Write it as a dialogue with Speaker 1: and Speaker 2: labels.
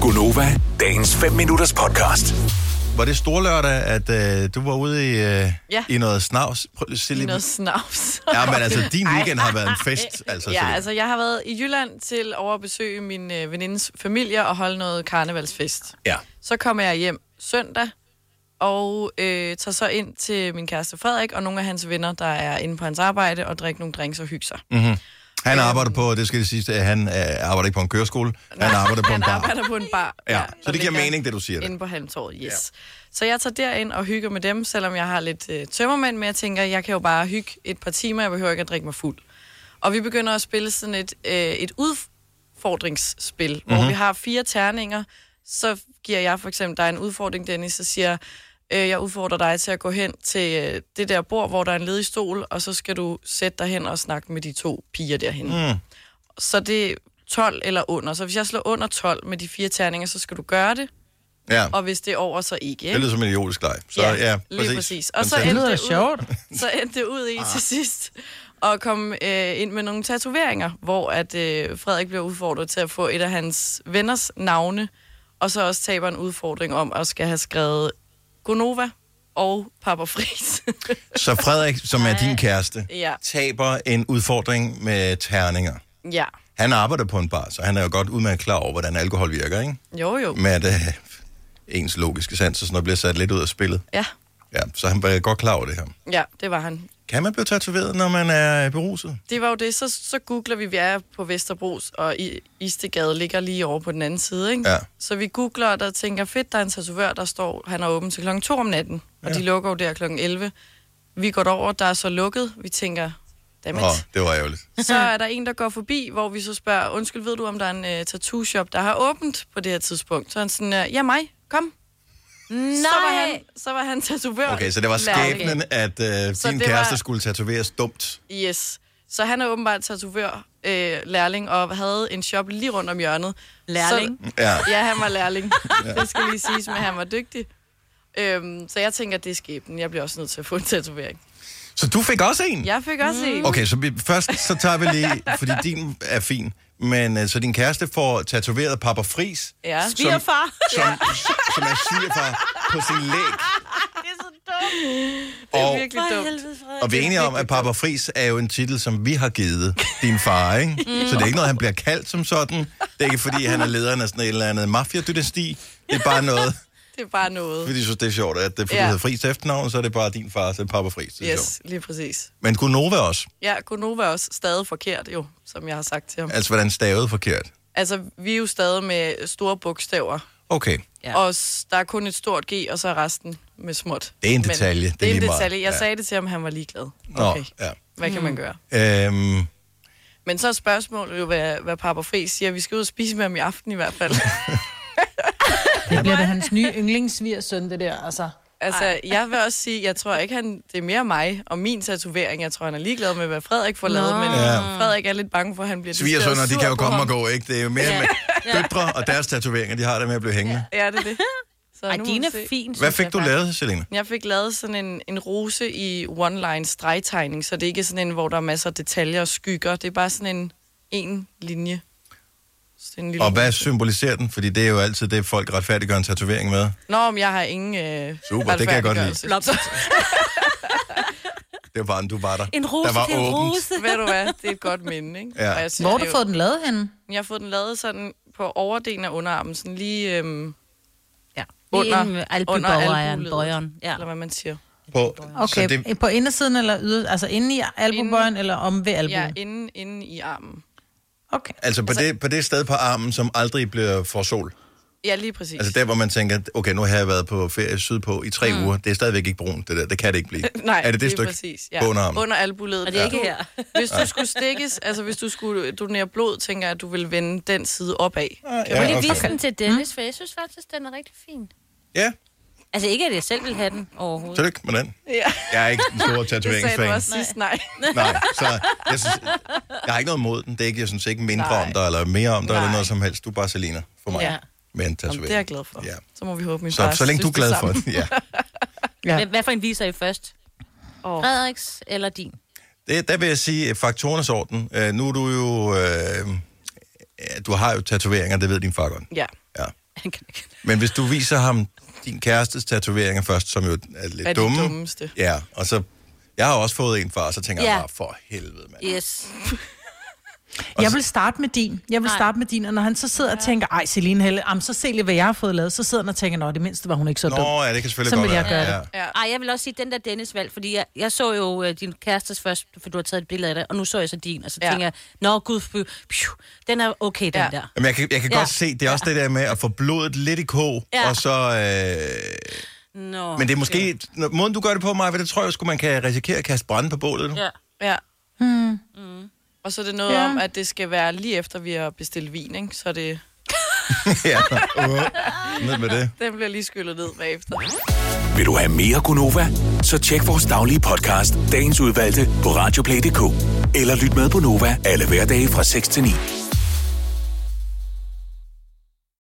Speaker 1: Gunova, dagens 5 minutters podcast.
Speaker 2: Var det storlørdag, at øh, du var ude i, øh,
Speaker 3: Ja.
Speaker 2: i noget snavs? Prøv lige at se
Speaker 3: I
Speaker 2: lige.
Speaker 3: noget snavs.
Speaker 2: Ja, men altså, din weekend har været en fest. Altså,
Speaker 3: ja,
Speaker 2: Selina.
Speaker 3: altså jeg har været i Jylland til over at besøge min øh, venindes familie og holde noget karnevalsfest.
Speaker 2: ja.
Speaker 3: Så kommer jeg hjem søndag og øh, tager så ind til min kæreste Frederik og nogle af hans venner, der er inde på hans arbejde og drikker nogle drinks og hygge sig. Mm,
Speaker 2: Han arbejder på, det skal jeg sige, at han øh, arbejder ikke på en køreskole. Han arbejder på en
Speaker 3: Han
Speaker 2: bar.
Speaker 3: arbejder på en bar.
Speaker 2: Ja, så
Speaker 3: der
Speaker 2: det giver
Speaker 3: ligger
Speaker 2: mening, det du siger. Der.
Speaker 3: Inde på halmtåret, yes. Ja. Så jeg tager derind og hygger med dem, selvom jeg har lidt øh, tømmermænd, men jeg tænker, jeg kan jo bare hygge et par timer, jeg behøver ikke at drikke mig fuld. Og vi begynder at spille sådan et, øh, et udfordringsspil, mm-hmm.
Speaker 2: Mhm.
Speaker 3: hvor vi har fire terninger. Så giver jeg for eksempel dig en udfordring, Dennis, så siger jeg, øh, jeg udfordrer dig til at gå hen til øh, det der bord, hvor der er en ledig stol, og så skal du sætte dig hen og snakke med de to piger derhen. Mm. Så det er 12 eller under. Så hvis jeg slår under 12 med de fire terninger, så skal du gøre det
Speaker 2: Ja,
Speaker 3: og hvis det er over, så ikke.
Speaker 2: det
Speaker 3: ikke?
Speaker 2: lyder som en idiotisk leg. Så, ja, ja, præcis.
Speaker 3: lige præcis. Og så
Speaker 2: Fantastisk.
Speaker 3: endte,
Speaker 4: lyder
Speaker 3: det
Speaker 4: da
Speaker 3: ud,
Speaker 4: sjovt.
Speaker 3: så endte det ud
Speaker 2: Ah.
Speaker 3: i til sidst at komme øh, ind med nogle tatoveringer, hvor at øh, Frederik bliver udfordret til at få et af hans venners navne, og så også taber en udfordring om at skal have skrevet Gonova og Papa Fris.
Speaker 2: så Frederik, som er din kæreste,
Speaker 3: Ja.
Speaker 2: taber en udfordring med terninger.
Speaker 3: ja,
Speaker 2: Han arbejder på en bar, så han er jo godt udmærket klar over, hvordan alkohol virker, ikke?
Speaker 3: jo jo.
Speaker 2: Med at øh, ens logiske sans og sådan noget bliver sat lidt ud af spillet.
Speaker 3: Ja,
Speaker 2: Ja, så han var godt klar over det her.
Speaker 3: ja det var han.
Speaker 2: Kan man blive tatoveret, når man er beruset?
Speaker 3: Det var jo det. Så, så googler vi, vi er på Vesterbros, og I, Istegade ligger lige over på den anden side, ikke?
Speaker 2: Ja.
Speaker 3: Så vi googler, og der tænker, fedt, der er en tatovør, der står, han er åben til klokken 2 om natten, og
Speaker 2: Ja.
Speaker 3: de lukker jo der klokken 11. Vi går derover, der er så lukket, vi tænker, dammit.
Speaker 2: Åh, oh, det var ærgerligt.
Speaker 3: Så er der en, der går forbi, hvor vi så spørger, undskyld, ved du, om der er en uh, tattoo-shop, der har åbent på det her tidspunkt? Så er han sådan, øh, ja mig, kom. Så var han, så var han tatovør.
Speaker 2: Okay, så det var
Speaker 3: Lærling.
Speaker 2: skæbnen, at øh,
Speaker 3: Så
Speaker 2: din
Speaker 3: det
Speaker 2: kæreste
Speaker 3: var-
Speaker 2: skulle tatoveres dumt.
Speaker 3: Yes. Så han er åbenbart tatovør, øh, lærling, og havde en shop lige rundt om hjørnet.
Speaker 4: Lærling?
Speaker 3: Så,
Speaker 2: Ja.
Speaker 3: ja, han var lærling. Det skal lige siges, men han var dygtig. Øhm, så jeg tænker, det er skæbnen. Jeg bliver også nødt til at få en tatovering. Mm.
Speaker 2: Så du fik også en?
Speaker 3: Jeg fik også en.
Speaker 2: Okay, så vi, først så tager vi lige, fordi din er fin, men øh, så din kæreste får tatoveret Papa Fris,
Speaker 3: Ja.
Speaker 4: Svigerfar.
Speaker 2: som, som er svigerfar på sin læg.
Speaker 4: Det er så dumt.
Speaker 3: Det er
Speaker 2: Og,
Speaker 3: virkelig dumt.
Speaker 2: og vi er enige om, at Papa Fris er jo en titel, som vi har givet din far,
Speaker 3: Mm.
Speaker 2: ikke? Så det er ikke noget, han bliver kaldt som sådan. Det er ikke, fordi han er lederen af sådan et eller andet mafia-dynasti. Det er bare noget,
Speaker 3: Det er bare noget.
Speaker 2: fordi de synes, det er sjovt, at det er, fordi
Speaker 3: Ja.
Speaker 2: ja. hedder Fris til efternavn, så er det bare din far, så er det Papa Fris. Det er sjovt.
Speaker 3: Yes, lige præcis.
Speaker 2: Men kunne Nova også?
Speaker 3: Ja, Gunova er også stadig forkert jo, som jeg har sagt til ham.
Speaker 2: Altså, hvordan stavede forkert?
Speaker 3: Altså, vi er jo stadig med store bogstaver.
Speaker 2: Okay.
Speaker 3: Ja. Og s- der er kun et stort G, og så er resten med småt.
Speaker 2: Det er en detalje. Det er
Speaker 3: Det er en
Speaker 2: lige meget.
Speaker 3: detalje. Jeg
Speaker 2: Ja.
Speaker 3: sagde det til ham, han var ligeglad.
Speaker 2: Nå,
Speaker 3: Okay,
Speaker 2: ja.
Speaker 3: hvad kan man gøre?
Speaker 2: Øhm,
Speaker 3: Men så er spørgsmålet jo, hvad, hvad Papa Fri siger. Vi skal ud og spise med ham i aften i hvert fald.
Speaker 4: Det bliver da hans nye yndlingssvigersøn, det der, altså.
Speaker 3: altså, Ej. jeg vil også sige, jeg tror ikke, han, det er mere mig og min tatovering. Jeg tror, han er ligeglad med, hvad Frederik får lavet. Men
Speaker 2: Ja.
Speaker 3: Frederik er lidt bange for, at han bliver decideret
Speaker 2: Svigersønner, de
Speaker 3: sur
Speaker 2: kan jo
Speaker 3: på
Speaker 2: komme og
Speaker 3: ham.
Speaker 2: gå, ikke? Det er jo mere med døtre og deres tatoveringer, de har det med at blive hængende.
Speaker 3: Ja, det er det. Så
Speaker 5: Ej,
Speaker 3: nu må
Speaker 5: din
Speaker 3: vi
Speaker 5: er
Speaker 3: se.
Speaker 5: fin,
Speaker 2: Hvad
Speaker 5: synes
Speaker 2: fik
Speaker 5: jeg
Speaker 2: du
Speaker 5: faktisk.
Speaker 2: lavet, Selina?
Speaker 3: Jeg fik lavet sådan en, en rose i one-line stregtegning, så det er ikke sådan en, hvor der er masser af detaljer og skygger. Det er bare sådan en en linje. Sådan en lille
Speaker 2: Og hvad symboliserer den? Fordi det er jo altid det, folk retfærdiggør en tatovering med.
Speaker 3: Nå, men jeg har ingen øh,
Speaker 2: Super, det kan jeg godt lide.
Speaker 3: retfærdiggørelse.
Speaker 2: Det var bare, du var der.
Speaker 5: En rose
Speaker 2: der var
Speaker 5: til en
Speaker 2: åbent.
Speaker 5: rose.
Speaker 3: Ved du hvad, det er et godt minde, ikke?
Speaker 2: Ja.
Speaker 3: Og jeg synes,
Speaker 4: Hvor har
Speaker 3: det er
Speaker 4: du
Speaker 3: jo-
Speaker 4: fået den lavet henne?
Speaker 3: Jeg har fået den lavet sådan på overdelen af underarmen, sådan lige øhm,
Speaker 5: Ja.
Speaker 3: under,
Speaker 5: Under, under albuborgeren. Bøjeren. Ja.
Speaker 3: Eller hvad man siger.
Speaker 2: På,
Speaker 4: Okay,
Speaker 2: så det,
Speaker 4: det... på indersiden eller yder, altså inde i albubøjen eller om ved albuen?
Speaker 3: Ja, inde, inde i armen.
Speaker 4: Okay.
Speaker 2: altså, på, det, på det sted på armen, som aldrig bliver for sol.
Speaker 3: Ja, lige præcis.
Speaker 2: Altså der, hvor man tænker, okay, nu har jeg været på ferie sydpå i tre mm. uger. Det er stadigvæk ikke brunt, det der. Det kan det ikke blive.
Speaker 3: Nej,
Speaker 2: er det det
Speaker 3: lige
Speaker 2: stykke
Speaker 3: præcis.
Speaker 2: på underarmen?
Speaker 3: Under albuledet.
Speaker 5: Og det er ikke her.
Speaker 3: Hvis du skulle stikkes, altså hvis du skulle donere blod, tænker jeg, at du vil vende den side opad.
Speaker 2: Ja,
Speaker 5: Må lige
Speaker 2: okay.
Speaker 5: vise den til Dennis, for jeg synes faktisk, den er rigtig fin.
Speaker 2: Ja,
Speaker 5: Altså ikke, at jeg selv vil have den overhovedet.
Speaker 2: tillykke med den.
Speaker 3: Ja,
Speaker 2: Jeg er ikke den store
Speaker 3: det sagde du
Speaker 2: tatoveringsfan.
Speaker 3: også sidst, nej.
Speaker 2: Nej, så jeg, synes, jeg har ikke noget mod den. Det er ikke, jeg synes ikke mindre Nej.
Speaker 3: Nej.
Speaker 2: om dig, eller mere om dig, eller
Speaker 3: Nej.
Speaker 2: noget som helst. Du er bare Selina for mig. Ja.
Speaker 3: Ja.
Speaker 2: Med en
Speaker 3: Jamen,
Speaker 2: tatovering.
Speaker 3: det er jeg glad for.
Speaker 2: Ja.
Speaker 3: Så må vi håbe, min far
Speaker 2: Så, så længe du er
Speaker 3: synes
Speaker 2: glad
Speaker 3: det
Speaker 2: for
Speaker 3: samme.
Speaker 2: det. Ja.
Speaker 4: Ja.
Speaker 5: Hvad- Hvad for en viser I først?
Speaker 3: Åh.
Speaker 5: Frederiks eller din?
Speaker 2: det. Der vil jeg sige, øh, faktorernes orden. Øh, nu er du jo... Øh, ja, du har jo tatoveringer, det ved din far godt.
Speaker 3: Ja.
Speaker 2: Ja.
Speaker 5: Han kan ikke.
Speaker 2: Men hvis du viser ham din kærestes tatoveringer først, som jo er lidt
Speaker 3: Hvad er de
Speaker 2: dumme.
Speaker 3: dummeste?
Speaker 2: Ja, og så... Jeg har også fået en far, og så tænker jeg
Speaker 5: Ja.
Speaker 2: bare, for helvede, mand.
Speaker 5: Yes.
Speaker 4: Jeg vil starte med din. Jeg vil
Speaker 5: Nej.
Speaker 4: starte med din, og når han så sidder og tænker, ej, Celine Helle, am, så se lige, hvad jeg har fået lavet, så sidder han og tænker, nå, det mindste var hun ikke så dum.
Speaker 2: Nå, ja, det kan selvfølgelig
Speaker 4: Sådan
Speaker 2: godt
Speaker 4: vil jeg
Speaker 2: være.
Speaker 4: gøre
Speaker 2: ja.
Speaker 4: det.
Speaker 3: Ja.
Speaker 5: Ej, jeg vil også sige den der Dennis valg, fordi jeg, jeg så jo øh, din kærestes først, for du har taget et billede af det, og nu så jeg så din, og så
Speaker 3: Ja.
Speaker 5: ja. tænker jeg, nå gud, fy, pju, den er okay, den
Speaker 3: Ja.
Speaker 5: der.
Speaker 2: Jamen, jeg kan, jeg kan ja.
Speaker 5: Ja.
Speaker 2: godt se, det er også det der med at få blodet lidt i kog, ja.
Speaker 5: Ja.
Speaker 2: og så... Øh,
Speaker 5: Nå,
Speaker 2: men det er måske... Når, måden, du gør det på, mig, det tror jeg sgu, man kan risikere at kaste brænde på bålet. Ja.
Speaker 5: Ja.
Speaker 3: Ja. Mm.
Speaker 5: Hmm.
Speaker 3: Og så er det noget
Speaker 4: Ja.
Speaker 3: ja. om, at det skal være lige efter, vi har bestilt vin, ikke? Så det,
Speaker 2: ja. Uh, ned med det.
Speaker 3: den bliver lige skyllet ned bagefter.
Speaker 1: Vil du have mere Gunova? Så tjek vores daglige podcast, dagens udvalgte, på radioplay.dk. Eller lyt med på Nova alle hverdage fra 6 til 9.